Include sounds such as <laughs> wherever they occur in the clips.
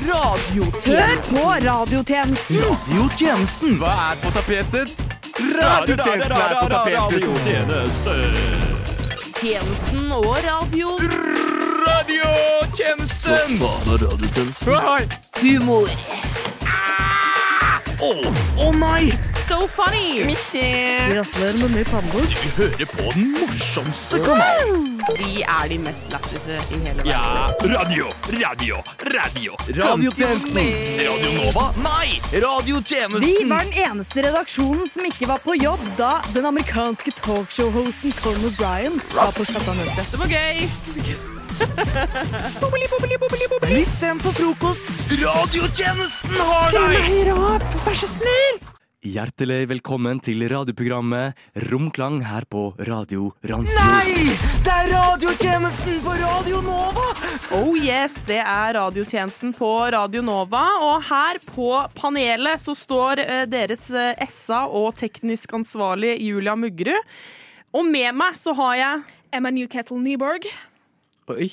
Hør Radiotjeneste. på radiotjenesten! Radiotjenesten! Hva er på tapetet? Radiotjenesten er på tapetet! Tjenesten og radio. Radiotjenesten! Radiotjenesten. Oi! Humor. Å å nei! So funny. Gratulerer med mye pannebord. Du hører på den morsomste kanalen. Vi er de mest lættise i hele verden. Ja. Radio, radio, radio. Radiotjenesten! Radio Nova? Nei! Vi Radiotjenesten! var den eneste redaksjonen som ikke var på jobb da den amerikanske talkshow-hosten Colin O'Brien var på Skattanøyte. Det var gøy. Litt sent på frokost. Radiotjenesten har deg! Hjertelig velkommen til radioprogrammet Romklang her på Radio Randsfjord. Nei! Det er radiotjenesten på Radio Nova! Oh yes, det er radiotjenesten på Radio Nova. Og her på panelet så står eh, deres eh, SA og teknisk ansvarlig Julia Muggerud. Og med meg så har jeg Emma Newcastle Nyborg. Oi,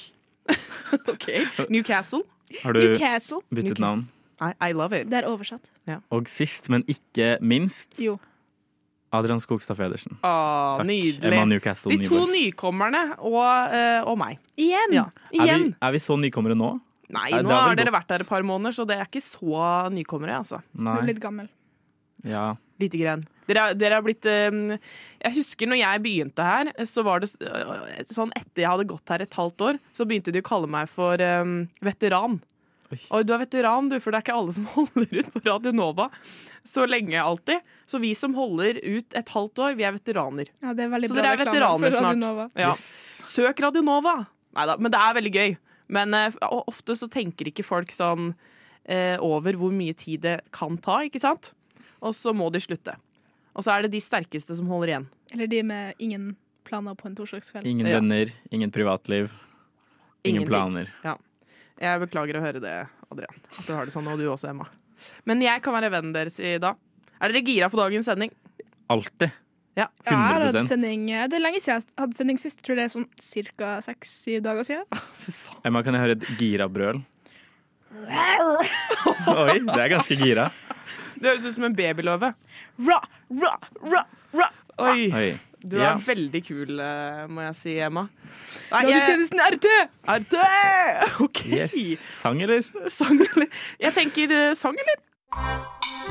Newcastle. Har du Newcastle. byttet navn? I, I love it. Det er oversatt. Og sist, men ikke minst, Jo. Adrian Skogstad Pedersen. Ah, Takk. nydelig. Emma Newcastle De to Nyborg. nykommerne og, eh, og meg. Igjen. Ja. Er vi, Igjen. er vi så nykommere nå? Nei, Nei, det nå er har vel dere godt. vært der et par måneder, så det er ikke så nykommere, altså. Du er Nei. litt gammel. Ja. Lite grann. Dere, er- dere har blitt eh, Jeg husker når jeg begynte her, så var det s- eh, sånn etter jeg hadde gått her et halvt år, så begynte de å kalle meg for eh, veteran. Oi. Oi, du er veteran, du, for det er ikke alle som <laughs> holder ut på Radio Nova så lenge alltid. Så vi som holder ut et halvt år, vi er veteraner. Ja, det er veldig Så bra dere er reklame veteraner for Radio snart. Nova. Ja. Yes. Søk Radio Nova! Neida, men det er veldig gøy. Men eh, og ofte så tenker ikke folk sånn eh, over hvor mye tid det kan ta, ikke sant? Og så må de slutte. Og så er det de sterkeste som holder igjen. Eller de med ingen planer på en torsdagskveld. Ingen Ja. venner, ingen privatliv, ingen Ingenting. planer. Jeg beklager å høre det, Adrian. At du har det sånn, og du også, Emma. Men jeg kan være vennen deres i dag. Er dere gira på dagens sending? Alltid. Ja. Jeg har hatt 100 sending eh, Det er lenge siden jeg hadde sending sist. Jeg tror det er sånn ca. seks-syv dager siden. Emma, kan jeg høre et gira brøl? Oi, det er ganske gira. Det høres ut som en babyløve. Ra, ra, ra, ra. Oi! Oi. Du er Ja. veldig kul, eh, må jeg si, Emma. Nei, jeg Radiotjenesten RT! er død! <laughs> OK. Yes. Sang, eller? Sang eller Jeg tenker eh, sang, eller?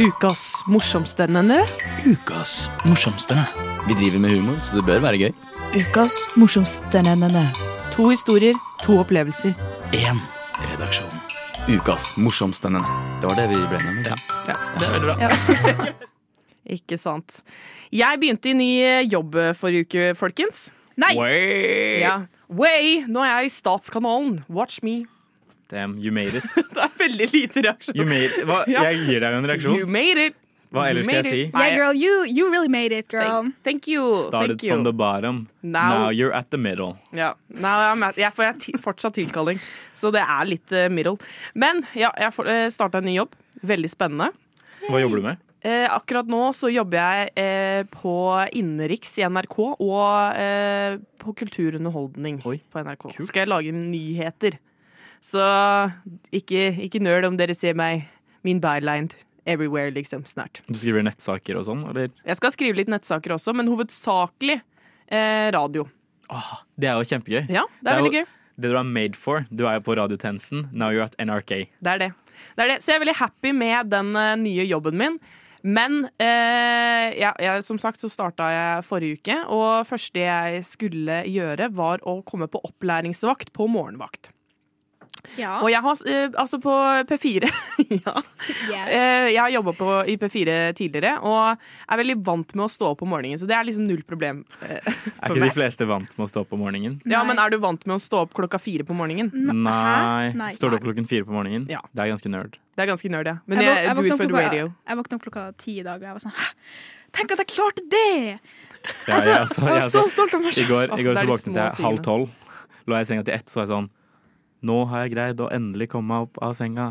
Ukas morsomstendende. Ukas morsomste. Vi driver med humor, så det bør være gøy. Ukas morsomstendende. To historier, to opplevelser. Én redaksjon. Ukas morsomste. Det var det vi ble med om. ikke sant? Det er veldig bra. Ikke sant. Jeg begynte i ny eh, jobb eh, forrige uke, folkens. Nei! Ja. Way! Nå er jeg i Statskanalen. Watch me. <laughs> Damn, you made it. Det er veldig lite reaksjon. You made it. Hva? <laughs> Ja. Jeg gir deg jo en You reaksjon. made it. Hva You ellers skal made jeg it. si? Yeah, Nei, girl, you, you really made it, girl. Thank, thank you. Started Thank you. from the bottom. Now. Now you're at the middle. Ja. Nei, jeg, er- jeg får jeg er ti- fortsatt tilkalling, så det er litt eh, middle. Men ja, jeg uh, starta en ny jobb. Veldig spennende. Hva jobber du med? Eh, akkurat nå så jobber jeg eh, på innenriks i NRK og eh, på kulturunderholdning Oi, på NRK. kult. Skal jeg lage nyheter. Så ikke, ikke nøl om dere ser meg, min byline everywhere, liksom, snart. Du skriver nettsaker og sånn, eller? Jeg skal skrive litt nettsaker også, men hovedsakelig eh, radio. Det er jo kjempegøy. Ja, det er jo veldig gøy. Det du er made for. Du er jo på radiotjenesten. Now you're at NRK. Det er det. det er det. Så jeg er veldig happy med den eh, nye jobben min. Men eh, ja, jeg, som sagt så starta jeg forrige uke, og første jeg skulle gjøre, var å komme på opplæringsvakt på morgenvakt. Ja. Og jeg har eh, altså på P4 <laughs> Ja. Yes. Eh, jeg har jobba i P4 tidligere og er veldig vant med å stå opp om morgenen, så det er liksom null problem. Eh, <laughs> Er ikke de fleste vant med å stå opp om morgenen? ja, Nei. Mm. Men er du vant med å stå opp klokka fire på morgenen? Nei. Hæ? Nei. Står du opp klokken fire på morgenen? Ja. Det er ganske nerd. Det er ganske nerd, ja. Men Jeg, jeg, våk- do jeg, it våkna opp for the klokka, radio. jeg våkna opp klokka ti i dag, og jeg var sånn Hæ? Tenk at jeg klarte det! Ja, jeg også- Jeg jeg var så også. stolt av meg I selv. går, Åh, i går Altså, det er de så våknet små jeg tingene. halv tolv. Lå jeg i senga til ett, så var jeg sånn Nå har jeg greid å endelig komme meg opp av senga.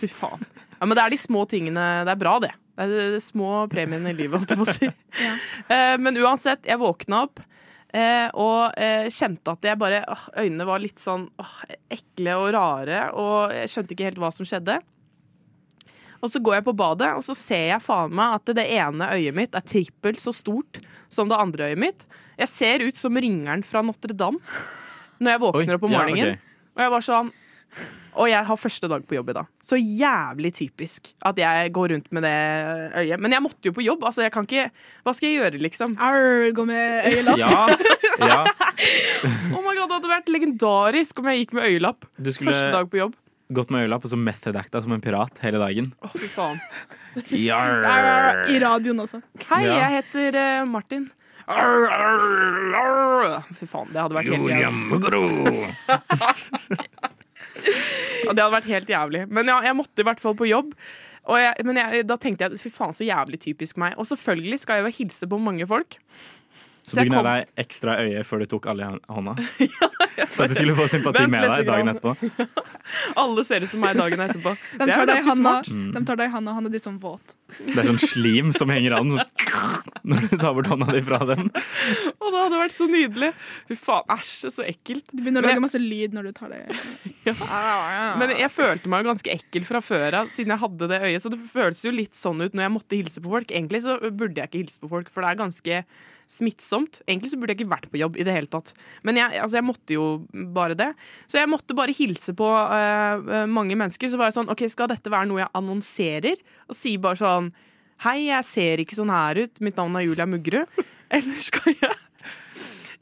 Fy faen. Ja, men det er de små tingene Det er bra, det. <laughs> <laughs> Det er de, de små premiene i livet, holdt jeg på å si. Eh, men uansett, jeg våkna opp. Eh, og eh, kjente at jeg bare åh, Øynene var litt sånn åh, ekle og rare, og jeg skjønte ikke helt hva som skjedde. Og så går jeg på badet, og så ser jeg faen meg at det ene øyet mitt er trippelt så stort som det andre øyet mitt. Jeg ser ut som ringeren fra Notre-Dame når jeg våkner opp om ja, morgenen. ok. Og jeg var sånn Og jeg har første dag på jobb i dag. Så jævlig typisk at jeg går rundt med det øyet. Men jeg måtte jo på jobb. Altså, jeg kan ikke Hva skal jeg gjøre, liksom? Arr, gå med øyelapp. Ja, ja. Oh my god, Det hadde vært legendarisk om jeg gikk med øyelapp Du første skulle dag på jobb. gått med øyelapp og så method-acta som en pirat hele dagen. Å, fy faen. Yarr. Arr, I radioen også. Hei, Ja. jeg heter eh, Martin. Arr, arr, arr. Fy faen, det hadde vært helt jævlig. Ja, Det hadde vært helt jævlig. Men ja, jeg måtte i hvert fall på jobb. Og jeg, men jeg, da tenkte jeg fy faen, så jævlig typisk meg. Og selvfølgelig skal jeg jo hilse på mange folk. Så du gned deg ekstra i øyet før du tok alle i <laughs> hå- hånda? Så at de skulle få sympati Vent med litt deg dagen grann. etterpå? Alle ser ut som meg dagen etterpå. De Det er tar jo deg i ganske handa, smart. de tar deg i handa, han er litt sånn våt. Det er sånn slim som henger an sånn, når du tar bort hånda di fra dem. Å, det hadde vært så nydelig. Fy faen, æsj, så ekkelt. Du begynner å Men- lage masse lyd når du tar det. Men jeg følte meg jo ganske ekkel fra før av, siden jeg hadde det øyet. Så det føltes jo litt sånn ut når jeg måtte hilse på folk. Egentlig så burde jeg ikke hilse på folk, for det er ganske smittsomt. Egentlig så burde jeg ikke vært på jobb i det hele tatt. Men jeg, altså, jeg måtte jo bare det. Så jeg måtte bare hilse på eh, mange mennesker. Så var jeg sånn OK, skal dette være noe jeg annonserer? Og si bare sånn Hei, jeg ser ikke sånn her ut. Mitt navn er Julia Muggerud. <laughs> Eller skal jeg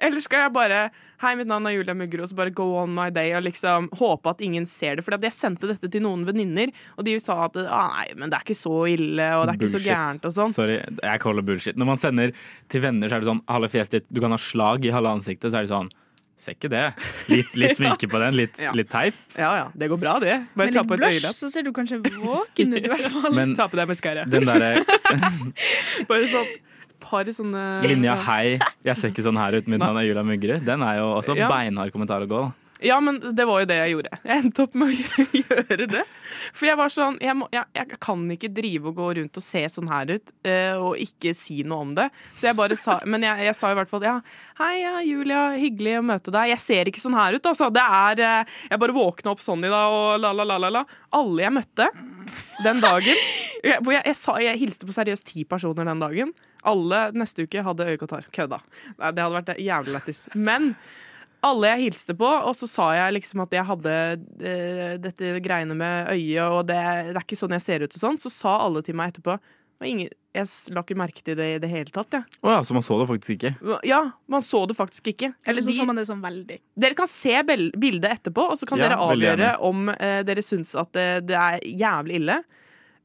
eller skal jeg bare Hei, mitt navn er Julia Muggerud, og så bare go on my day og liksom håpe at ingen ser det. For jeg sendte dette til noen venninner, og de sa at ah, nei, men det er ikke så ille, og det er ikke så gærent og sånn. Sorry, jeg kaller bullshit. Når man sender til venner, så er det sånn halve fjeset ditt, du kan ha slag i halve ansiktet, så er det sånn Ser ikke det. Litt, <laughs> litt sminke på den, litt, Ja. litt teip. Ja ja, det går bra, det. Bare Med ta litt på et blush, øyelapp. så ser du kanskje våken ut, i <laughs> hvert fall. Men Ta på deg mascara. den eh, derre Bare sånn par sånne linja 'hei, jeg ser ikke sånn her ut', mitt navn er Julia Muggerud, den er jo også Ja. beinhard kommentar å gå. da. Ja, men det var jo det jeg gjorde. Jeg endte opp med å <laughs> gjøre det. For jeg var sånn Jeg, må, jeg, jeg kan ikke drive og gå rundt og se sånn her ut eh, og ikke si noe om det. Så jeg bare sa Men jeg, jeg sa i hvert fall ja. Hei, ja, Julia. Hyggelig å møte deg. Jeg ser ikke sånn her ut, altså. Det er eh, Jeg bare våkna opp sånn i dag og la, la, la, la, la. Alle jeg møtte den dagen jeg, Hvor jeg, jeg, sa, jeg hilste på seriøst ti personer den dagen. Alle neste uke hadde øyekontar. Kødda. Nei, Det hadde vært jævlig lættis. Men alle jeg hilste på, og så sa jeg liksom at jeg hadde eh, dette greiene med øyet, og det, det er ikke sånn jeg ser ut og sånn, så sa alle til meg etterpå og ingen, Jeg s- la ikke merke til det i det hele tatt, jeg. Å ja, så man så det faktisk ikke. Ja. ja, man så det faktisk ikke. Eller så De- så man det sånn veldig. Dere kan se bel- bildet etterpå, og så kan Ja, dere veldig avgjøre gjerne. om eh, dere syns at det, det er jævlig ille.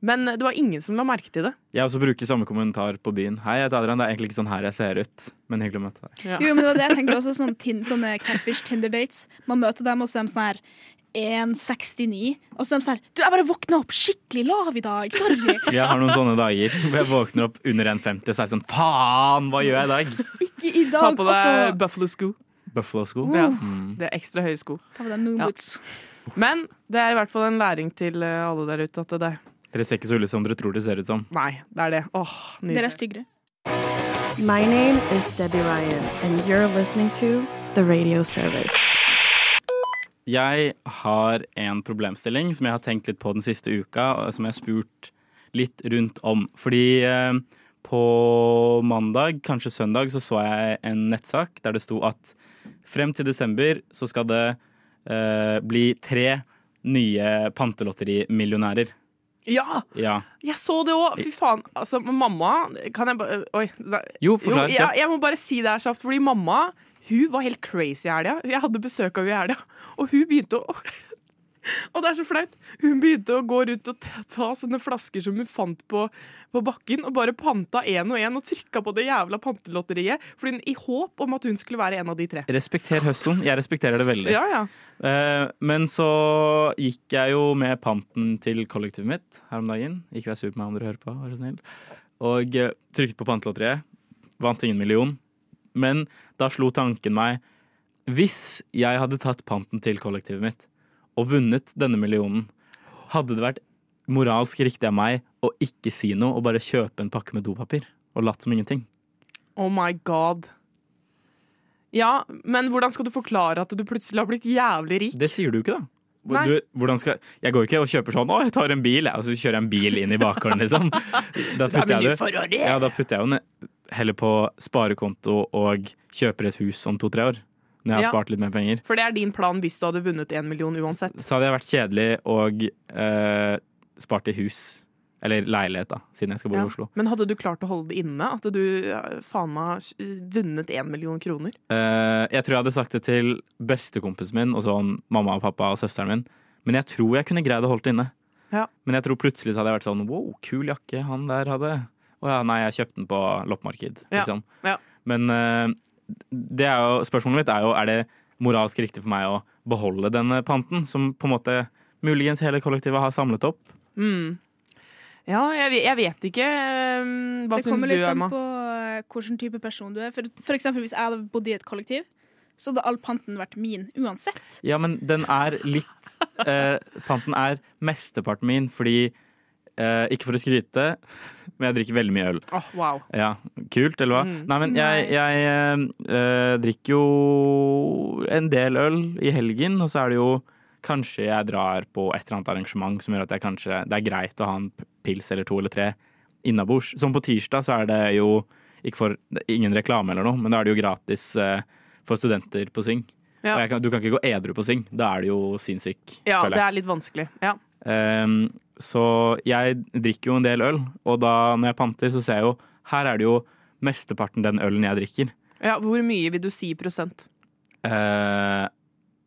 Men det var ingen som la merke til det. Jeg også bruker samme kommentar på byen. 'Hei, jeg heter Adrian, det er egentlig ikke sånn her jeg ser ut', men hyggelig å møte deg. Ja. Jo, men det var det jeg tenkte også, sånn tin, sånne catfish Tinder dates. Man møter dem, og så er de sånn her 1,69. Og så er de sånn her Du, jeg bare våkna opp skikkelig lav i dag. <laughs> Sorry. Jeg har noen sånne dager hvor jeg våkner opp under 1,50 og så er jeg sånn 'faen, hva gjør jeg i dag?' Ikke i Ta dag. på Og Uh. deg så Buffalo sko. Buffalo-sko. Ja. Mm. Det er ekstra høye sko. ta på deg moon Ja. boots. Men det er i hvert fall en læring til eh, alle der ute at det er Dere ser ikke så ille som dere tror dere ser ut som. Nei, det er det. Åh, Dere nydelig. er styggere. My name is Debbie Ryan, and you're listening to The Radio Service. Jeg har en problemstilling som jeg har tenkt litt på den siste uka, og som jeg har spurt litt rundt om. Fordi eh, på mandag, kanskje søndag, så så jeg en nettsak der det sto at frem til desember så skal det eh, bli tre nye pantelotterimillionærer. Ja, Ja. jeg så det òg! Fy faen. Altså, mamma Kan jeg bare Oi. Nei. Jo, Jo, forklar. jeg, jeg må bare si det her kjapt, fordi mamma hun var helt crazy i helga. Jeg hadde besøk av henne i helga, og hun begynte å <laughs> Og det er så flaut. Hun begynte å gå rundt og ta- ta sånne flasker som hun fant på, på bakken, og bare panta én og én og trykka på det jævla pantelotteriet fordi hun, i håp om at hun skulle være en av de tre. Respekter høsten. Jeg respekterer det veldig. Ja, ja. Eh, men så gikk jeg jo med panten til kollektivet mitt her om dagen. Ikke vær sur på meg om dere hører på, vær så snill. Og eh, trykket på pantelotteriet. Vant ingen million. Men da slo tanken meg Hvis jeg hadde tatt panten til kollektivet mitt og vunnet denne millionen, hadde det vært moralsk riktig av meg å ikke si noe og bare kjøpe en pakke med dopapir og latt som ingenting? Oh my god. Oh Ja, men hvordan skal du forklare at du plutselig har blitt jævlig rik? Det sier du ikke, da. Hvor- Nei. Du, hvordan skal, jeg går jo ikke og kjøper sånn 'Å, jeg tar en bil', jeg, og så kjører jeg en bil inn i <laughs> bakgården, liksom. Da putter jeg det ja, da putter jeg jo ned- heller på sparekonto og kjøper et hus om to-tre år. Når jeg har Ja. spart litt mer penger. For det er din plan hvis du hadde vunnet én million uansett. Så hadde jeg vært kjedelig og eh, spart i hus. Eller leilighet, da, siden jeg skal bo Ja. i Oslo. Men hadde du klart å holde det inne? At du eh, faen meg eh, vunnet én million kroner? Eh, jeg tror jeg hadde sagt det til bestekompisen min og sånn mamma og pappa og søsteren min. Men jeg tror jeg kunne greid å holde det inne. Ja. Men jeg tror plutselig så hadde jeg vært sånn wow, kul jakke han der hadde. Å ja, nei, jeg kjøpte den på loppemarked, Ja, liksom. ja. Men eh, det er jo, spørsmålet mitt er jo er det moralsk riktig for meg å beholde denne panten, som på en måte muligens hele kollektivet har samlet opp. Mm. Ja, jeg, ve- jeg vet ikke. eh, Hva Det syns kommer du, litt an Emma? på eh, hvilken type person du er. For, for eksempel hvis jeg hadde bodd i et kollektiv, så hadde all panten vært min uansett. Ja, men den er litt eh, Panten er mesteparten min, fordi eh, Ikke for å skryte, men jeg drikker veldig mye øl. Åh, wow. Ja, Kult, eller hva? Mm. Nei, men jeg, jeg eh, eh, drikker jo en del øl i helgen, og så er det jo Kanskje jeg drar på et eller annet arrangement som gjør at jeg kanskje, det er greit å ha en p- pils eller to eller tre innabords. Som på tirsdag så er det jo ikke for, det er ingen reklame eller noe, men da er det jo gratis eh, for studenter på Syng. Ja. Og jeg kan, du kan ikke gå edru på Syng. Da er du jo sinnssyk, Ja, det føler jeg. er litt vanskelig. Ja. Ehm, så jeg drikker jo en del øl, og da når jeg panter, så ser jeg jo Her er det jo mesteparten den ølen jeg drikker. ja, Hvor mye vil du si i prosent? Eh,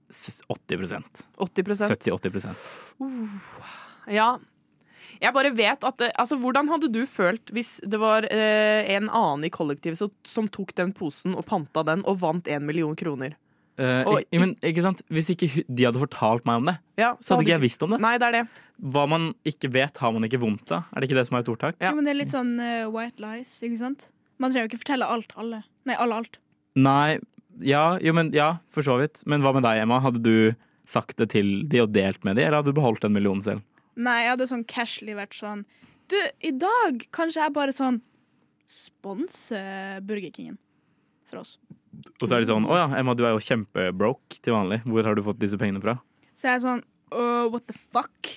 s- 80 80 prosent? 70-80 Ja. Jeg bare vet at eh, Altså, hvordan hadde du følt hvis det var eh, en annen i kollektivet som, som tok den posen og panta den og vant én million kroner? Eh, Og ik- men ikke sant? Hvis ikke hu- de hadde fortalt meg om det, Ja, så hadde ikke jeg visst om det. Nei, det er det. Hva man ikke vet, har man ikke vondt av. Er det ikke det som er et ordtak? Ja. Jo, men det er litt sånn eh, white lies, ikke sant? Man trenger jo ikke fortelle alt, alle. Nei, alle alt. Nei, ja, jo, men, ja, for så vidt. Men hva med deg, Emma? Hadde du sagt det til de og delt med de, eller hadde du beholdt en million selv? Nei, jeg hadde sånn casually vært sånn Du, i dag kanskje jeg bare sånn Sponse Burger Kingen for oss. Og så er de sånn Å ja, Emma, du er jo kjempebroke til vanlig. Hvor har du fått disse pengene fra? Så jeg er sånn «Åh, what the fuck?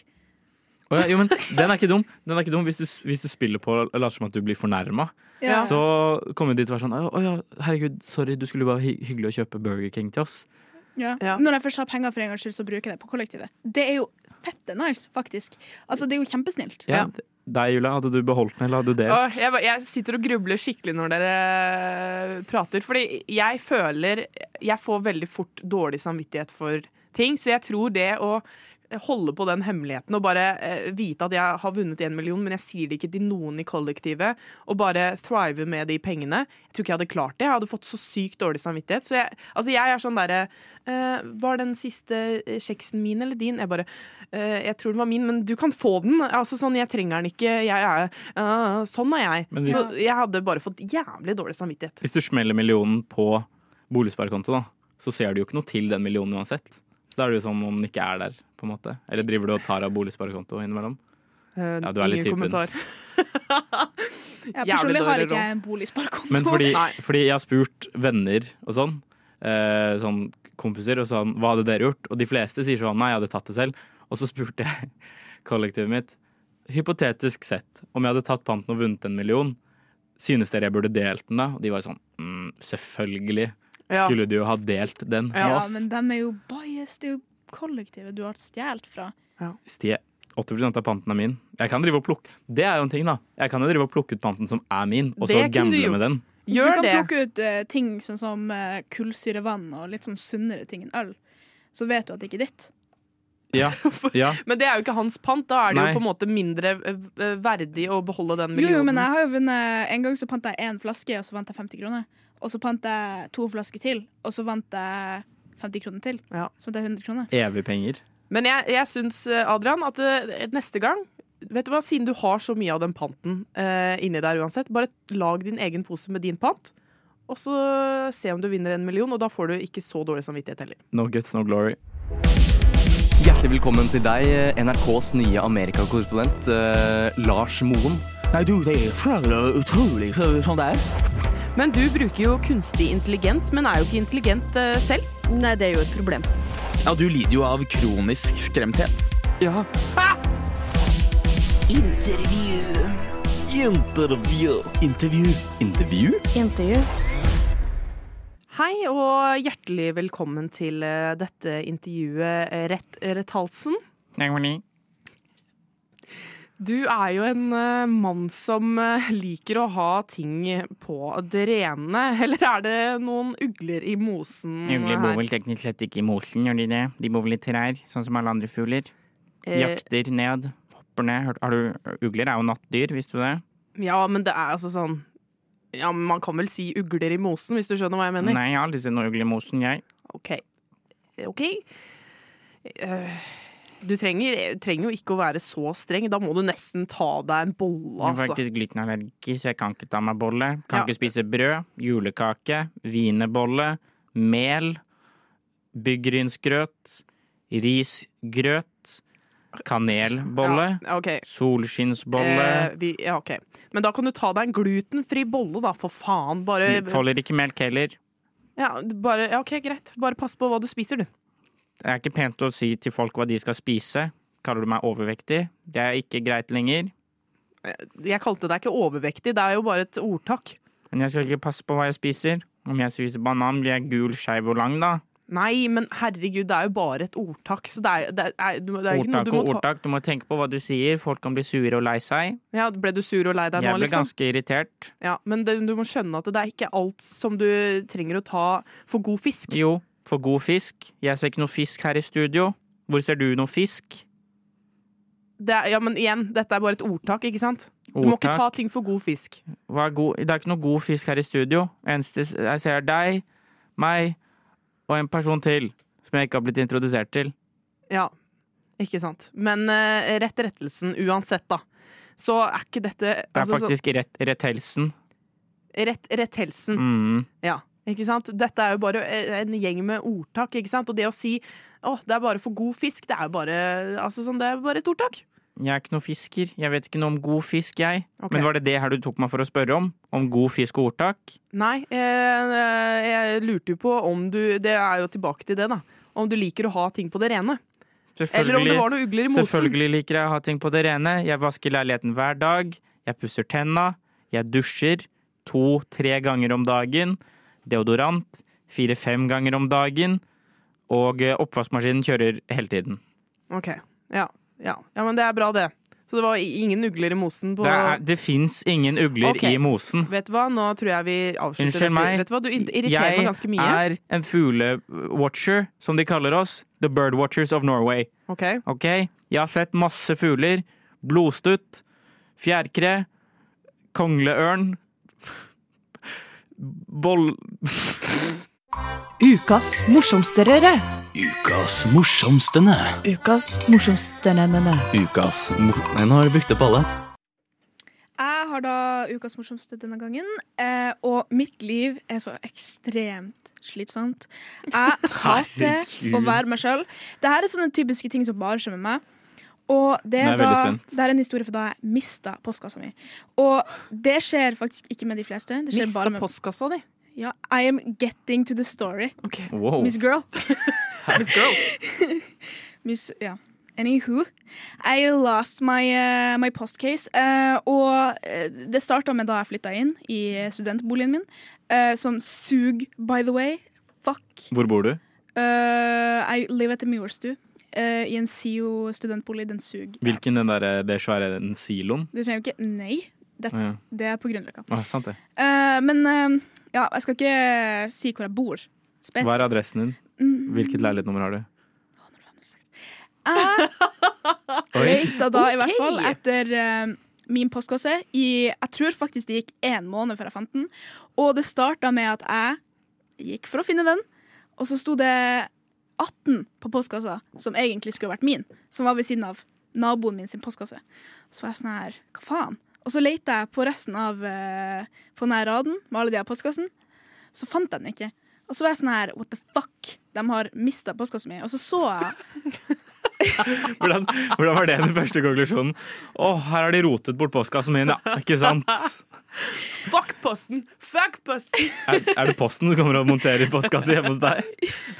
Å ja, jo, men den er ikke dum. Den er ikke dum. Hvis, du, hvis du spiller på og later som at du blir fornærma, Ja. så kommer de til å være sånn Å å ja, herregud, sorry, du skulle jo bare hy hyggelig å kjøpe Burger King til oss. Ja. Ja. Når jeg først har penger for en gangs skyld, så bruker jeg det på kollektivet. Det er jo fette nice, faktisk. Altså, det er jo kjempesnilt. Ja. d- Deg, Julia, hadde du beholdt den, eller hadde du delt? Åh, jeg, ba- jeg sitter og grubler skikkelig når dere eh, prater, fordi jeg føler Jeg får veldig fort dårlig samvittighet for ting, så jeg tror det å eh, holde på den hemmeligheten og bare eh, vite at jeg har vunnet én million, men jeg sier det ikke til noen i kollektivet, og bare thrive med de pengene Jeg tror ikke jeg hadde klart det. Jeg hadde fått så sykt dårlig samvittighet. Så jeg, altså jeg er sånn derre eh, Var den siste eh, kjeksen min eller din? Jeg bare eh, Jeg tror den var min, men du kan få den. Altså sånn, Jeg trenger den ikke. Jeg er eh, Sånn er jeg. Men hvis- så jeg hadde bare fått jævlig dårlig samvittighet. Hvis du smeller millionen på boligsparekonto, da, så ser du jo ikke noe til den millionen uansett. Så da er det jo som om den ikke er der, på en måte. Eller driver du og tar av boligsparekonto innimellom? Eh, Ja, du er litt ingen typen. kommentar. Ja, Jævlig personlig har dårlig ikke råd. jeg en boligsparekonto. Men fordi, Nei. fordi jeg har spurt venner og sånn, eh, sånn kompiser, og sånn, hva hadde dere gjort? Og de fleste sier sånn, nei, jeg hadde tatt det selv. Og så spurte jeg <laughs> kollektivet mitt, hypotetisk sett, om jeg hadde tatt panten og vunnet en million, synes dere jeg burde delt den da? Og de var sånn, mm, selvfølgelig Ja. skulle du jo ha delt den <laughs> med ja, oss. men dem er jo bias. Det er jo kollektivet du har stjålet fra. Stie, 80 av panten er min. Jeg kan drive og plukke. Det er jo en ting da. Jeg kan jo drive og plukke ut panten som er min, og så Det kunne du gamble gjort. med den. du Gjør kan det. plukke ut eh, ting sånn som eh, kullsyrevann og litt sånn sunnere ting enn øl. Så vet du at det ikke er ditt. <laughs> Ja, ja. Men det er jo ikke hans pant. Da er det Nei. jo på en måte mindre eh, verdig å beholde den Jo, millionen. jo, men jeg har jo vunnet eh, En gang så pant jeg én flaske, og så vant jeg 50 kroner. Og så pant jeg to flasker til, og så vant jeg 50 kroner til. Ja. Så vant jeg 100 kroner. Evig penger. Men jeg, jeg syns, eh, Adrian, at eh, neste gang Vet du hva, Siden du har så mye av den panten eh, inni der uansett, bare lag din egen pose med din pant. Og så se om du vinner en million, og da får du ikke så dårlig samvittighet heller. No guts, no glory. Hjertelig velkommen til deg, NRKs nye Amerikakorrespondent eh, Lars Moen. Nei, du, det er utrolig, utrolig så- sånn det er. Men du bruker jo kunstig intelligens, men er jo ikke intelligent eh, selv. Nei, det er jo et problem. Ja, du lider jo av kronisk skremthet. Ja. Intervju. Intervju. Intervju? Intervju. Hei og hjertelig velkommen til eh, dette intervjuet, eh, Rett, Rett Halsen. Du er jo en eh, mann som eh, liker å ha ting på det rene. <laughs> Eller er det noen ugler i mosen? eh, Ugler bor her? vel teknisk sett ikke i mosen, gjør de det? De bor vel i trær, sånn som alle andre fugler. Eh, Jakter ned, hopper ned. Hør- Har du, ugler er jo nattdyr, visste du det? Ja, men det er altså sånn Ja, men man kan vel si ugler i mosen, hvis du skjønner hva jeg mener? Nei, jeg har aldri sett noen ugler i mosen, jeg. OK. OK. Eh, Du trenger, trenger jo ikke å være så streng. Da må du nesten ta deg en bolle, Jeg er altså. faktisk glutenallergi, så jeg kan ikke ta meg bolle. Kan Ja. ikke spise brød, julekake, wienerbolle, mel, byggrynsgrøt, risgrøt, kanelbolle, Ja, ok. solskinnsbolle. Eh, vi, ja, ok. Men da kan du ta deg en glutenfri bolle, da, for faen. Bare, Tåler ikke melk heller. ja, bare ja, OK, greit. Bare pass på hva du spiser, du. Det er ikke pent å si til folk hva de skal spise. Kaller du meg overvektig? Det er ikke greit lenger. Jeg kalte deg ikke overvektig, det er jo bare et ordtak. Men jeg skal ikke passe på hva jeg spiser. Om jeg spiser banan, blir jeg gul, skeiv og lang, da. Nei, men herregud, det er jo bare et ordtak, så det er, det er, du- det er ikke noe Ordtak du og må ta ordtak. Du må tenke på hva du sier. Folk kan bli sure og lei seg. ja, Ble du sur og lei deg Jeg nå, ble liksom? ganske irritert. Ja, men det, du må skjønne at det er ikke alt som du trenger å ta for god fisk. Jo, for god fisk. Jeg ser ikke noe fisk her i studio. Hvor ser du noe fisk? Det er, ja, men igjen, dette er bare et ordtak, ikke sant? Du må ikke Ordtak. ta ting for god fisk. Hva er god? Det er ikke noe god fisk her i studio. Eneste s- jeg ser, er deg, meg og en person til som jeg ikke har blitt introdusert til. Ja, ikke sant. Men eh, rett rettelsen uansett, da. Så er ikke dette Det er altså, så- faktisk rett, rett helsen. Rett, rettelsen. Mm. Ja, ikke sant? Dette er jo bare eh, en gjeng med ordtak, ikke sant? Og det å si å, det er bare for god fisk, det er jo bare, altså, sånn, det er bare et ordtak. Jeg er ikke noen fisker. Jeg vet ikke noe om god fisk, jeg. Ok. Men var det det her du tok meg for å spørre om? Om god fisk og ordtak? Nei, eh, eh, jeg lurte jo på om du Det er jo tilbake til det, da. Om du liker å ha ting på det rene. Eller om det var noen ugler i mosen. selvfølgelig liker jeg å ha ting på det rene. Jeg vasker leiligheten hver dag. Jeg pusser tenna. Jeg dusjer to-tre ganger om dagen. Deodorant fire-fem ganger om dagen. Og eh, oppvaskmaskinen kjører hele tiden. Ok, ja, ja. ja, men det er bra, det. Så det var i- ingen ugler i mosen på Det, er- det fins ingen ugler Ok. i mosen. Vet du hva, nå tror jeg vi avslutter Unnskyld dette. meg. Vet du hva, du in- irriterer meg ganske mye. Jeg er en fuglewatcher, som de kaller oss. The Birdwatchers of Norway. Ok, Ok? Jeg har sett masse fugler. Blodstutt, fjærkre, kongleørn Boll... Ukas morsomste røre. Ukas morsomstene. Ukas morsomste nønnene. Ukas mor... Nei, nå har jeg brukt opp alle. Jeg har da ukas morsomste denne gangen, eh, og mitt liv er så ekstremt slitsomt. <laughs> Jeg hater å være meg sjøl. Dette er sånne typiske ting som bare skjer med meg. Og det Nå er er, jeg veldig da, spent. det er en historie for da jeg mista postkassa mi. Og det skjer faktisk ikke med de fleste. Det skjer Mista bare med postkassa di. ja, I am getting to the story, Ok. Wow. Miss <laughs> Girl. Miss girl. <laughs> Miss, ja. Anywho, I lost my, eh, my postcase. eh, og eh, det starta med da jeg flytta inn i studentboligen min, eh, som sug, by the way. Fuck. Hvor bor du? Eh, I live at the Mjordstu. eh, I en SIO-studentbolig. Den sug. Hvilken den der, det svære den siloen? Du trenger jo ikke Nei. That's, Ja. Det er på Grünerløkka. Å, sant det. Eh, men eh, ja, jeg skal ikke si hvor jeg bor. Spes- Hva er adressen din? Mm. Hvilket leilighetsnummer har du? Leita da i hvert fall etter eh, min postkasse i Jeg tror faktisk det gikk én måned før jeg fant den. Og det starta med at jeg gikk for å finne den, og så sto det 18 på postkassa som egentlig skulle vært min, som var ved siden av naboen min sin postkasse. Så var jeg sånn her, hva faen? Og så leita jeg på resten av eh, på den her raden med alle de her postkassen, så fant jeg den ikke. Og så var jeg sånn her, what the fuck? De har mista postkassen min. Og så så jeg Hvordan, hvordan var det den <laughs> første konklusjonen? Å, her har de rotet bort postkassen min, ja. Ikke sant? Fuck posten! Fuck posten! Er, er det Posten som kommer og monterer postkasse hjemme hos deg?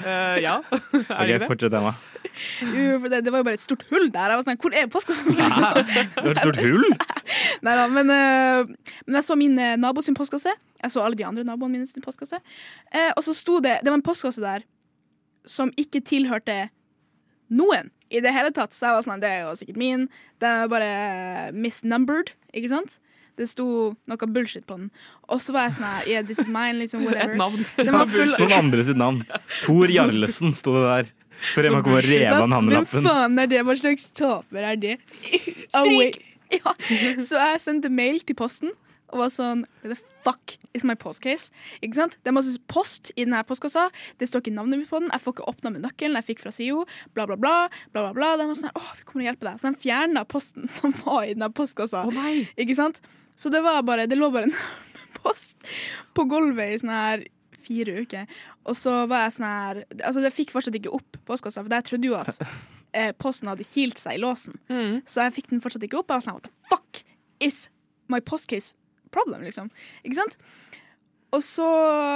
Eh, ja. <laughs> er det Ok, ikke det? Fortsett, Emma. Jo, for det, det var jo bare et stort hull der. Jeg var sånn, Hvor er postkassen? <laughs> Liksom. Du har et stort hull! Nei da, men, eh, men jeg så min eh, nabo sin postkasse. Jeg så alle de andre naboene mine sin postkasse. Eh, og så sto det Det var en postkasse der som ikke tilhørte noen i det hele tatt. Så jeg var sånn Det er jo sikkert min. Den er bare misnumbered, ikke sant? Det sto noe bullshit på den. Og så var jeg sånn her, Yeah, this is mine, liksom. <laughs> Et Whatever. navn. Den var full Noen andre sitt navn. Tor Jarlesen sto det der. Før Emma kom og rev av den Hvem handlelappen. faen er det? Hva slags taper er det? Stryk! <laughs> Ja. Så jeg sendte mail til posten og var sånn Where the fuck is my postcase? Ikke sant? Det er masse post i denne postkassa. Det står ikke navnet mitt på den. Jeg får ikke åpna med nøkkelen jeg fikk fra SIO. Bla, bla, bla. bla, bla, bla. De var sånn her, Åh, vi kommer og hjelper deg. Så de fjerna posten <laughs> som var i denne postkassa. Å nei! Ikke sant? Så det var bare Det lå bare en <laughs> post på gulvet i sånn her fire uker. Og så var jeg sånn her Altså, jeg fikk fortsatt ikke opp postkassa, for jeg trodde jo <laughs> at eh, posten hadde kilt seg i låsen. Mm. Så jeg fikk den fortsatt ikke opp. Jeg var sånn her, What the fuck is my postcase problem? Liksom. Ikke sant? Og så <clears throat>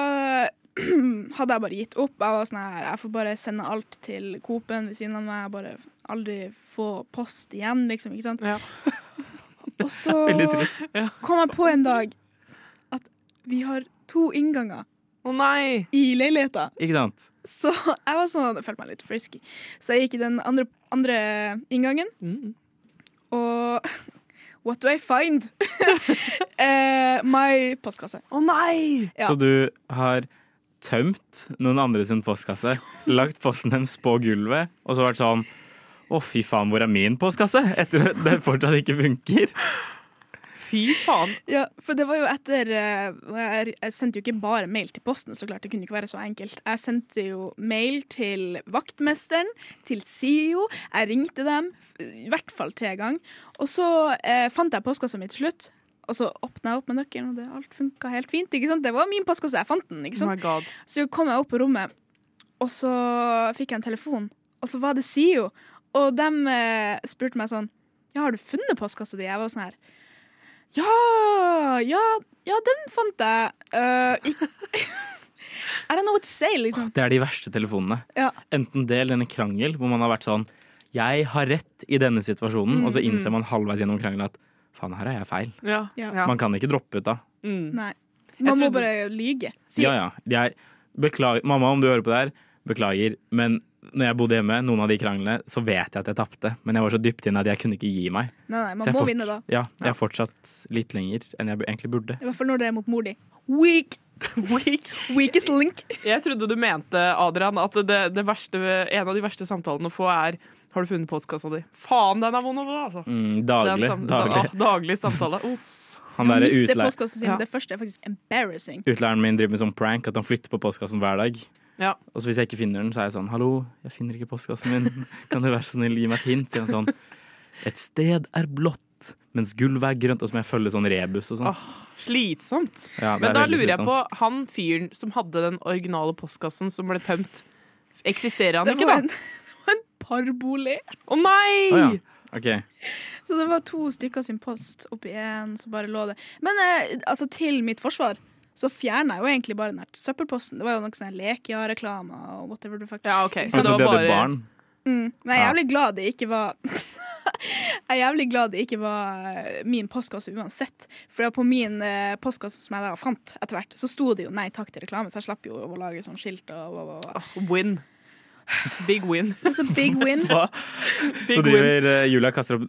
hadde jeg bare gitt opp. Jeg var sånn her, jeg får bare sende alt til Coop-en ved siden av meg. Jeg bare aldri få post igjen, liksom. Ikke sant? Ja. <laughs> Og så Veldig trist. kom jeg på en dag at vi har to innganger Å nei! i leiligheta. Ikke sant? Så jeg var sånn, jeg følte meg litt frisky. Så jeg gikk i den andre, andre inngangen, Mm. og <laughs> what do I find? <laughs> eh, my postkasse. Å nei! Ja. Så du har tømt noen andre sin postkasse, lagt posten deres på gulvet, og så vært sånn å, fy faen, hvor er min postkasse? Etter at det fortsatt ikke funker. Fy faen. Ja, for det var jo etter eh, Jeg jeg sendte jo ikke bare mail til posten, så klart. Det kunne ikke være så enkelt. Jeg sendte jo mail til vaktmesteren, til SIO. Jeg ringte dem f- i hvert fall tre ganger. Og så eh, fant jeg postkassa mi til slutt. Og så åpna jeg opp med nøkkelen, og det, alt funka helt fint. ikke sant? Det var min postkasse, jeg fant den. ikke Oh sant? my god. Så kom jeg opp på rommet, og så fikk jeg en telefon. Og så var det SIO. Og de eh, spurte meg sånn Ja, har du funnet postkassa di? Jeg var sånn her Ja! Ja, ja den fant jeg. Eh, ikk- <laughs> I don't know what to say, liksom. Det er de verste telefonene. Ja. Enten det eller en krangel hvor man har vært sånn Jeg har rett i denne situasjonen, og så innser man halvveis gjennom krangelen at faen, her har jeg feil. Ja. Ja. <laughs> Man kan ikke droppe ut da. Mm. Nei. Man må trodde- bare lyge. Si Ja, ja. Jeg, beklager, mamma, om du hører på det her, beklager. Men når jeg bodde hjemme, noen av de kranglene, så vet jeg at jeg tapte. Men jeg var så dypt inne at jeg kunne ikke gi meg. Nei, nei, så man jeg må fort- vinne, da. Ja, jeg er fortsatt litt lenger enn jeg egentlig burde. I hvert fall når det er mot mor di. Weak! Weak. Weakest link. Jeg trodde du mente, Adrian, at det, det verste, en av de verste samtalene å få er Har du funnet postkassa di? Faen, den er vond å få, altså. Mm, Det er en sånn- sam- daglig. daglig. da- daglig samtale. Oh, Uff. Han der Miste utleier. postkassa si, Ja. men det første er faktisk embarrassing. Utleieren min driver med sånn prank at han flytter på postkassen hver dag. Ja. Og så hvis jeg ikke finner den, så er jeg sånn Hallo, jeg finner ikke postkassen min. <laughs> Kan du være så snill gi meg et hint? Sier han sånn Et sted er blått, mens gulvet er grønt. Og så må jeg følge sånn rebus og sånn. Åh, slitsomt. Ja, det er Men da veldig sånn. lurer jeg slitsomt. på han fyren som hadde den originale postkassen som ble tømt. Eksisterer han Det ikke, var da? en, <laughs> en parbolig. Å nei! Å, ja. Ok. Så det var to stykker sin post oppi én, så bare lå det. Men eh, altså, til mitt forsvar så fjerna jeg jo egentlig bare den her søppelposten. Det var jo noe sånn Lekia-reklame og whatever du fuck. Ja, OK. Ikke Så sant? det Altså, var de bare hadde barn. Mm. Men jeg er Ja. jævlig glad det ikke var <laughs> Jeg er jævlig glad det ikke var eh, min postkasse uansett. For på min eh, postkasse som jeg da fant etter hvert, så sto det jo 'nei takk til reklame', så jeg slapp jo å lage sånn skilt og bla, bla, bla. Win. Big win. Men så big win. Hva? Big Så win. driver eh, Julia og kaster opp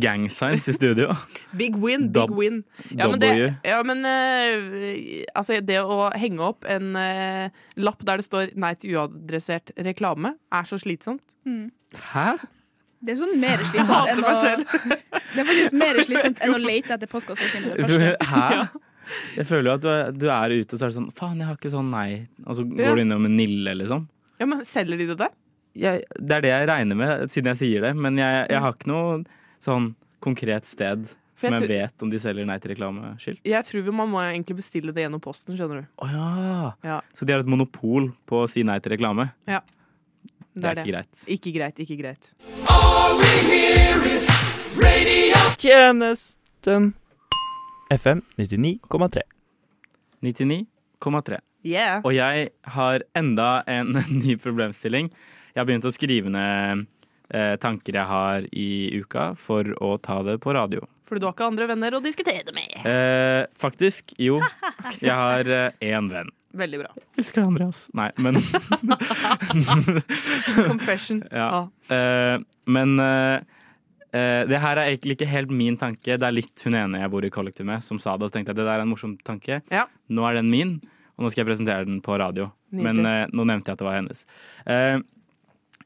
gang signs i studio. Big win, big Dab- win. Ja, men det, W. ja, men eh, altså det å henge opp en eh, lapp der det står 'nei til uadressert reklame', er så slitsomt. Hæ? Det er sånn mer Jeg slitsomt hater enn meg å selv. Det er faktisk <laughs> mer slitsomt enn å lete etter postkassa si med det første. <laughs> Hæ? Jeg føler jo at du er, du er ute, og så er det sånn Faen, jeg har ikke sånn nei. Og så går Ja. du innom en Nille, liksom. Ja, men Selger de det der? Jeg, det er det jeg regner med, siden jeg sier det. Men jeg, jeg har ikke noe sånn konkret sted For som jeg jeg tror- vet om de selger nei til reklameskilt. Jeg tror vi- man må egentlig bestille det gjennom posten, skjønner du. Å ja. Ja. Så de har et monopol på å si nei til reklame. Det er, ikke greit. Ikke greit, ikke greit. Tjenesten. FM 99,3. 99,3. Yeah. Og jeg har enda en <laughs> ny problemstilling. Jeg har begynt å skrive ned eh, tanker jeg har i uka, for å ta det på radio. Fordi du har ikke andre venner å diskutere det med. Eh, faktisk, jo. Jeg har eh, én venn. Veldig <laughs> bra. Elsker deg, Andreas. Nei, men Confession. <laughs> Ja. Eh, men eh, eh, det her er egentlig ikke helt min tanke. Det er litt hun ene jeg bor i kollektiv med, som sa det. Og så tenkte jeg det der er en morsom tanke. Ja. Nå er den min, og nå skal jeg presentere den på radio. Nydelig. Men eh, nå nevnte jeg at det var hennes. Eh,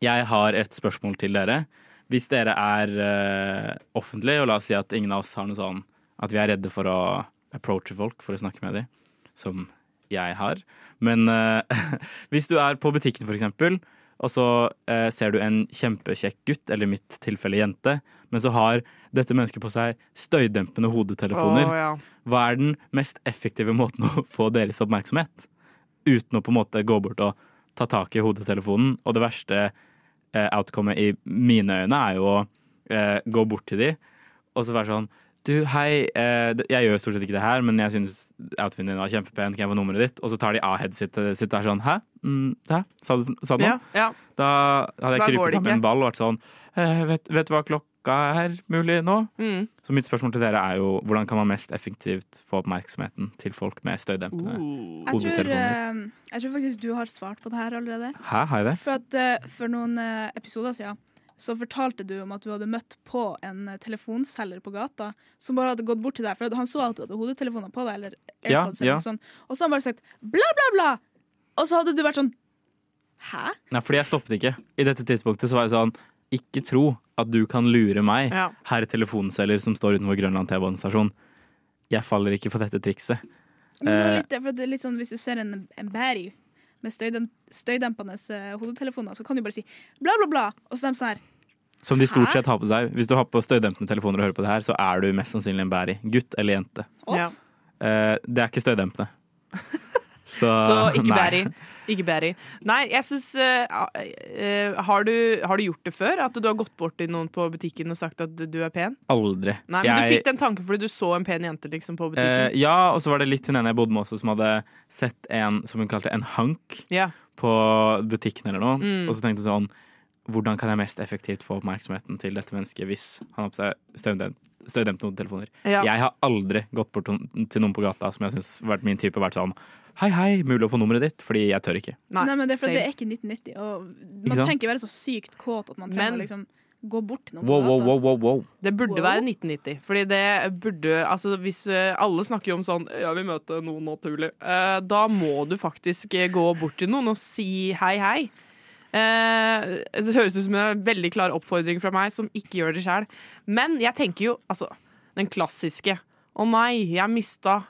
jeg har et spørsmål til dere. Hvis dere er eh, offentlige, og la oss si at ingen av oss har noe sånn at vi er redde for å approache folk for å snakke med dem, som jeg har. Men eh, <laughs> hvis du er på butikken, for eksempel, og så eh, ser du en kjempekjekk gutt, eller i mitt tilfelle jente, men så har dette mennesket på seg støydempende hodetelefoner. Å, ja. Hva er den mest effektive måten å <laughs> få deres oppmerksomhet? Uten å på en måte gå bort og ta tak i hodetelefonen. Og det verste eh, outcomet i mine øyne er jo å eh, gå bort til de og så være sånn Du, hei, eh, det- jeg gjør stort sett ikke det her, men jeg syns outfiten din var kjempepen, kan jeg få nummeret ditt? Og så tar de av headsetet sitt og er sånn Hæ? Mm, hæ? Sa du, sa du noe? Ja, ja. Da Da hadde går jeg det krypet sammen ikke. en ball og vært sånn «Eh, vet, vet du hva klokka er mulig nå? Mm. Så mitt spørsmål til dere er jo hvordan kan man mest effektivt få oppmerksomheten til folk med støydempende Jeg tror, eh, Hodetelefoner. jeg tror faktisk du har svart på det her allerede. Hæ, har jeg det? For, at, eh, for noen eh, episoder siden så fortalte du om at du hadde møtt på en eh, telefonselger på gata som bare hadde gått bort til deg, for han så at du hadde hodetelefoner på deg, eller Ja, AirPods, eller ja. noe sånt, og så hadde han bare sagt bla, bla, bla, og så hadde du vært sånn Hæ? Nei, fordi jeg stoppet ikke. I dette tidspunktet så var jeg sånn Ikke tro at du kan lure meg, Ja. herr telefonselger som står utenfor Grønland T-banestasjon. Jeg faller ikke for dette trikset. Men det var Eh. litt, det, for det er litt sånn, hvis du ser en, en bæri med støydem, støydempende eh, hodetelefoner, så kan du bare si bla, bla, bla, og så er de sånn her Som de stort Hæ? sett har på seg. Hvis du har på støydempende telefoner og hører på det her, så er du mest sannsynlig en bæri. Gutt eller jente. oss. Eh, det er ikke <laughs> støydempende. Så, Så ikke Ah, nei. bæri. Ikke bæri. Nei, jeg syns har, du- har du gjort det før? At du har gått bort til noen på butikken og sagt at du- du er pen? Aldri. Nei, men jeg, Du fikk den tanken fordi du så en pen jente liksom, på eh, butikken. ja, og så var det litt hun ene jeg bodde med også, som hadde sett en som hun kalte en hank ja. på butikken eller noe. Mm. Og så tenkte hun sånn Hvordan kan jeg mest effektivt få oppmerksomheten til dette mennesket hvis han har på seg støydemp- støydempende hodetelefoner? Ja. Jeg har aldri gått bort til noen på gata som jeg syns har vært min type, og vært sånn Hei, hei, mulig å få nummeret ditt? Fordi jeg tør ikke. Nei, men det er, for, same. det er ikke 1990, og Ikke man sant? trenger ikke være så sykt kåt at man Men- trenger å liksom gå bort til noen Wow, på wow, gata. wow, wow, wow. Det burde Wow. være 1990. Fordi det burde Altså, hvis eh, alle snakker jo om sånn Ja, vi møter noen naturlig. Eh, da må du faktisk eh, gå bort til noen og si hei, hei. Eh, det høres ut som en veldig klar oppfordring fra meg, som ikke gjør det sjæl. Men jeg tenker jo altså Den klassiske. Å nei, jeg mista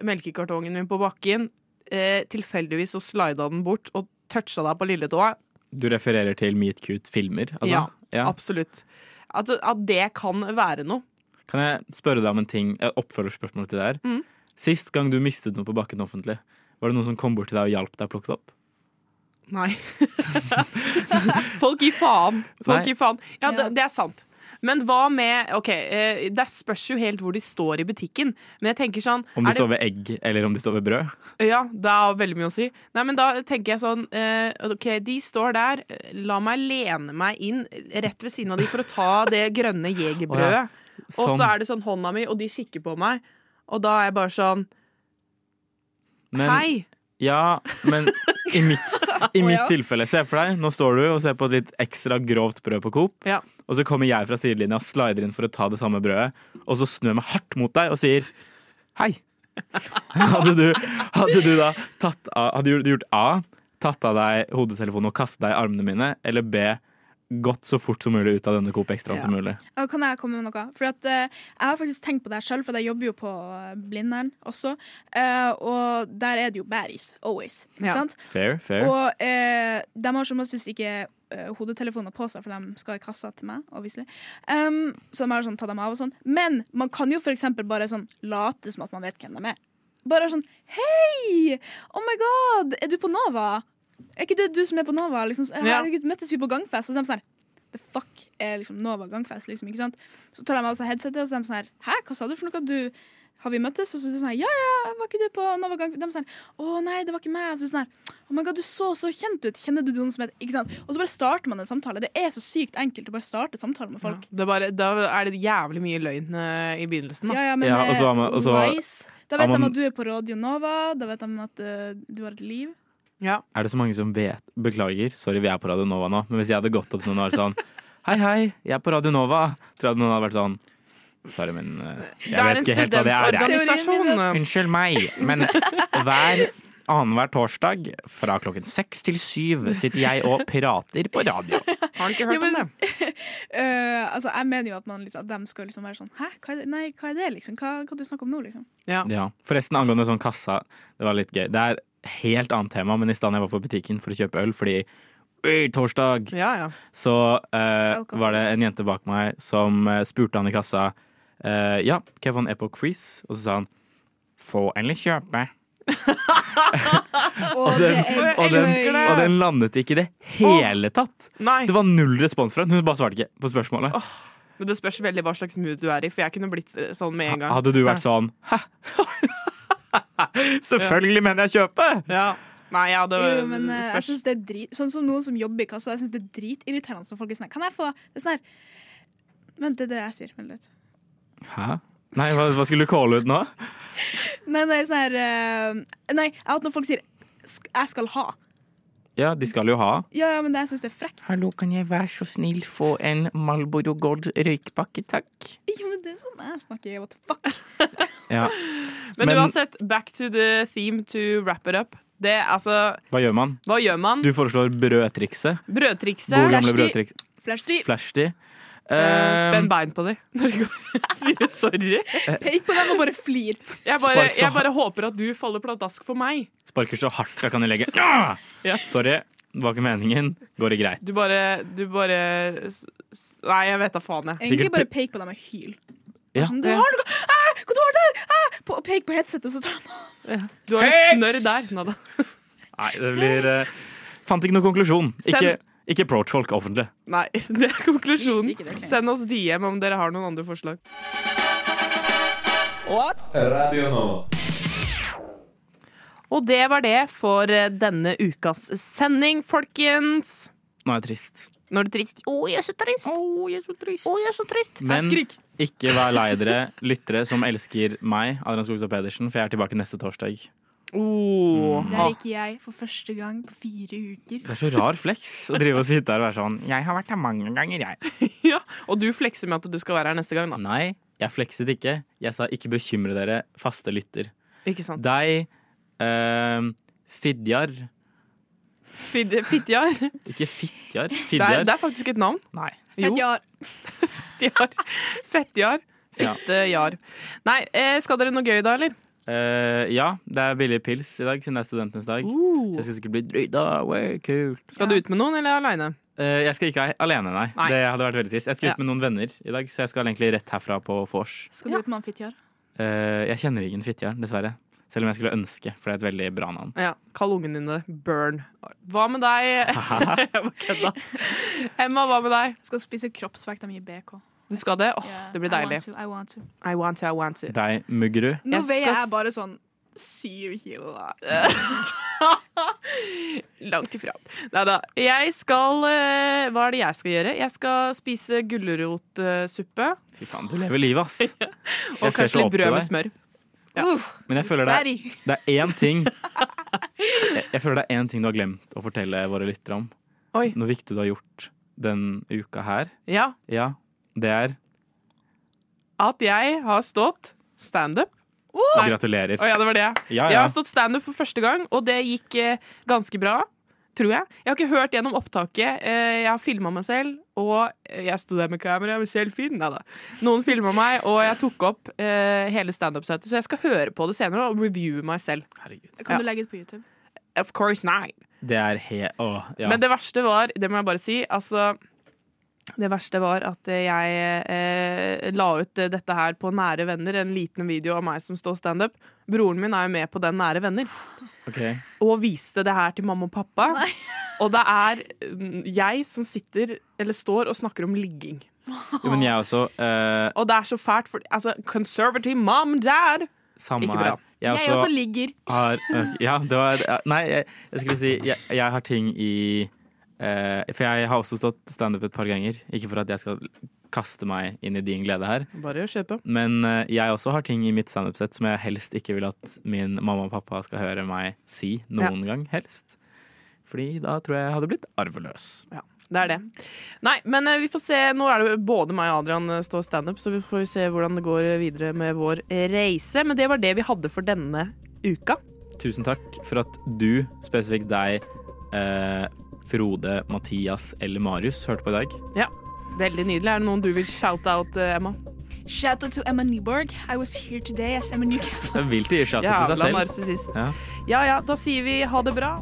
melkekartongen min på bakken. Eh, tilfeldigvis så slida den bort og toucha deg på lilletåa. Du refererer til Meet Cute-filmer? Altså? Ja, Absolutt. At, at det kan være noe. Kan jeg spørre deg om en ting? Jeg oppfølger spørsmålet til det her. Mm. Sist gang du mistet noe på bakken offentlig, var det noen som kom bort til deg og hjalp deg å plukke det opp? Nei. <laughs> Folk gir faen. Folk Nei. gir faen. Ja, det, Ja. det er sant. Men hva med OK, eh, det spørs jo helt hvor de står i butikken. Men jeg tenker sånn Om de er det, står ved egg, eller om de står ved brød? Ja, det har veldig mye å si. Nei, men da tenker jeg sånn eh, OK, de står der. eh, La meg lene meg inn rett ved siden av de for å ta det grønne jegerbrødet. Og så er det sånn hånda mi, og de kikker på meg. Og da er jeg bare sånn Men- Hei! Ja, men i <laughs> mitt, i mitt tilfelle, se for deg, nå står du og ser på et litt ekstra grovt brød på Coop, Ja. og så kommer jeg fra sidelinja og slider inn for å ta det samme brødet, og så snur jeg meg hardt mot deg og sier hei. Hadde du, hadde du da tatt av, hadde du gjort A, tatt av deg hodetelefonen og kastet deg i armene mine, eller B, gått så fort som mulig ut av denne Coop ekstraen Ja. som mulig? Ja, kan jeg komme med noe? For at, eh, jeg har faktisk tenkt på det her sjøl, for jeg jobber jo på eh, Blindern også. Eh, og der er det jo baddies, always. Ikke Ja. sant? Fair, fair. Og eh, de har som oftest ikke eh, hodetelefoner på seg, for de skal i kassa til meg, obviously. Um, så de har sånn, ta dem av og sånn. Men man kan jo for eksempel bare sånn late som at man vet hvem de er. Bare sånn Hei! Oh my god! Er du på Nova? Er ikke det du som er på Nova? Liksom, så, Ja. Herregud, møttes vi på gangfest? Og så er de sånn her The fuck er liksom Nova gangfest, liksom, ikke sant? Så tar de av seg headsetet, og så er de sånn her Hæ, hva sa du for noe? Du har vi møttes? Og så sier hun sånn her, Ja, ja, var ikke du på Novagang? De sånn Å nei, det var ikke meg. Og så sier hun sånn her, Oh my god, du så så kjent ut. Kjenner du noen som heter Ikke sant? Og så bare starter man en samtale. Det er så sykt enkelt å bare starte samtaler med folk. Det er bare, da er det jævlig mye løgn eh, i begynnelsen. Da. Ja, ja, men Ja, og så har man- eh, og så- nice. Da vet har de man- at du er på Radio Nova. Da vet de at eh, du har et liv. Ja. Er det så mange som vet Beklager, sorry, vi er på Radio Nova nå, men hvis jeg hadde gått opp til noen og vært sånn Hei, hei, jeg er på Radio Nova, tror jeg noen hadde vært sånn Sorry, men eh, jeg vet ikke helt hva det er. jeg». studentorganisasjon. Unnskyld meg, men hver annenhver torsdag fra klokken seks til syv sitter jeg og prater på radio. Har du ikke Ja, hørt om men- det? Eh, altså, jeg mener jo at, man, liksom, at de skal liksom være sånn Hæ, hva er det, nei, hva er det liksom? Hva, hva du snakker om nå, liksom? Ja. Forresten, angående sånn kassa, det var litt gøy. Det er helt annet tema, men i stedet jeg var på butikken for å kjøpe øl, fordi «Øy, torsdag, Ja, ja. så eh, Alkohol. var det en jente bak meg som eh, spurte han i kassa eh, Ja, kan jeg få en Epoch Freeze? Og så sa han få eller kjøpe. Og det er Og den, gøy. og den landet ikke i det hele tatt. Nei, Det var null respons fra henne. Hun bare svarte ikke på spørsmålet. men det spørs veldig hva slags mood du er i, for jeg kunne blitt eh, sånn med en gang. Hadde du vært sånn Hæ? <laughs> Selvfølgelig mener jeg kjøpe! Ja. Nei, jeg hadde Jo, men eh, jeg spørs. synes det er drit Sånn som noen som jobber i kassa, jeg synes det er dritirriterende når folk er sånn her, Kan jeg få Det er sånn her Vent, det er det jeg sier. Vent litt. Hæ? Nei, hva, hva skulle du calle ut nå? Nei, nei, sånn her eh, Nei, jeg har hatt når folk sier "Sk- jeg skal ha. Ja, de skal jo ha. Ja, ja, men det, jeg syns det er frekt. <laughs> Hallo, kan jeg være så snill få en Marlboro Gold røykpakke, takk? Jo, men det er sånn jeg snakker. What the fuck? Men, Men- uansett, back to the theme to wrap it up. Det, altså, Hva gjør man? hva gjør man? Du foreslår brødtrikset. Gode Brødtrikset. gamle Flash-de. brødtriks. Flashy. Flash-de. Eh, Eh, spenn bein på dem <laughs> når de går. Sier sorry. Pek på dem og bare <laughs> flir. Jeg bare, Spark sånn. så jeg bare håper at du faller pladask for meg. Ehm, Sparker så hardt jeg kan i legget. Ah! Ja. Sorry, det var ikke meningen. Går det greit? Du bare, du bare s- s- Nei, jeg vet da faen, jeg. Egentlig Sikkert- bare pek på dem og hyl. Ja. Sånn, du har noe ah, Hva du har der? Ah! På, og pek på headsetet, og så tar man Du har et snørr der. Nada. Nei, det blir eh, Fant ikke noen konklusjon. Ikke, Send- ikke approach folk offentlig. Nei, <laughs> det er Please, konklusjonen. ikke det, Clemens. Send oss DM om dere har noen andre forslag. Radio Nova. Og det var det for eh, denne ukas sending, folkens. Nå er jeg trist. Nå er det trist. Å, jeg er så trist. Å, jeg er så trist. Men ikke vær lei dere, lyttere som elsker meg, Adrian Skogstad Pedersen, for jeg er tilbake neste torsdag. Å, Der gikk jeg for første gang på fire uker. Det er så rar flex å drive og sitte her og være sånn Jeg har vært her mange ganger, jeg. <laughs> ja. Og du flekser med at du skal være her neste gang, da. Nei, jeg flekset ikke. Jeg sa ikke bekymre dere, faste lytter. Ikke sant? Deg, eh, Fidjar Fid- Fittjar. Det, Ikke Fitjar, er- Fidjar. det er faktisk et navn. Nei. Jo. Fett, ja. Fettjar. Fettjar. Ja. Fittejar. Nei, eh, skal dere noe gøy da, eller? Eh, ja, det er billig pils i dag, siden det er studentenes dag. Uh. Så jeg skal sikkert bli drøyda. Way, kult. Skal du ut med noen, eller aleine? Eh, jeg skal ikke a- alene, nei. Nei. Det hadde vært veldig trist. Jeg skal Ja. ut med noen venner i dag, så jeg skal egentlig rett herfra på vors. Skal du ut med han Fitjar? Eh, jeg kjenner ingen Fitjar, dessverre. Selv om jeg skulle ønske, for det er et veldig bra navn. Ja, Kall ungen din det. Burn. Hva med <laughs> deg? Jeg bare kødda. Emma, hva med deg? Skal spise kroppsvekt de gir BK. Du skal det? Åh, Yeah, det blir I deilig. want to, I want to. I want to, I want to. Deg, Mugru. Nå Jeg veier skal s- jeg bare sånn syv kilo. da. <laughs> Langt ifra. Nei da. Jeg skal eh, Hva er det jeg skal gjøre? Jeg skal spise gulrotsuppe. Fy faen, du lever livet, <laughs> ass. Jeg Og ser så kanskje opp litt til brød med deg. smør. Ja. Uff, Men jeg føler det er ferdig. Det er én <laughs> ting jeg, jeg føler det er én ting du har glemt å fortelle våre lyttere om. Oi. Noe viktig du har gjort den uka her. Ja. Ja, det er At jeg har stått standup. Nei. Gratulerer. Å ja, det var det. Ja, Jeg ja. har stått standup for første gang, og det gikk eh, ganske bra. Tror jeg. Jeg har ikke hørt gjennom opptaket. Eh, jeg har filma meg selv, og eh, jeg sto der med kamera med selfien. Nei da. Noen filma meg, og jeg tok opp eh, hele standup-settet, så jeg skal høre på det senere og reviewe meg selv. Herregud. Kan du legge det på YouTube? Of course not. Det er he... Å, ja. Men det verste var, det må jeg bare si, altså det verste var at jeg eh, la ut dette her på Nære venner, en liten video av meg som står standup. Broren min er jo med på den Nære venner. Ok. og viste det her til mamma og pappa. <laughs> Og det er mm, jeg som sitter, eller står, og snakker om ligging. Jo, men jeg også. eh, Og det er så fælt, for altså, conservative mom and dad Samme Ikke bra. her. Jeg Jeg også ligger. har ok, Ja, det var ja, Nei, jeg, jeg skulle si jeg, jeg har ting i eh, For jeg har også stått standup et par ganger. Ikke for at jeg skal kaste meg inn i din glede her, Bare kjør på. men eh, jeg også har ting i mitt standup-sett som jeg helst ikke vil at min mamma og pappa skal høre meg si noen gang. Helst. Fordi da tror jeg jeg hadde blitt arveløs. Det er det. Nei, men eh, vi får se. Nå er det jo både meg og Adrian eh, står standup, så vi får se hvordan det går videre med vår reise. Men det var det vi hadde for denne uka. Tusen takk for at du, spesifikt deg, eh, Frode, Mathias eller Marius, hørte på i dag. Veldig nydelig. Er det noen du vil shout-out, eh, Emma? Shout out to Emma Nyborg. I was here today as Emma Newcastle. Jeg vil til å gi shout-out til seg Jævla selv. narsissist. Ja. Ja ja, da sier vi ha det bra.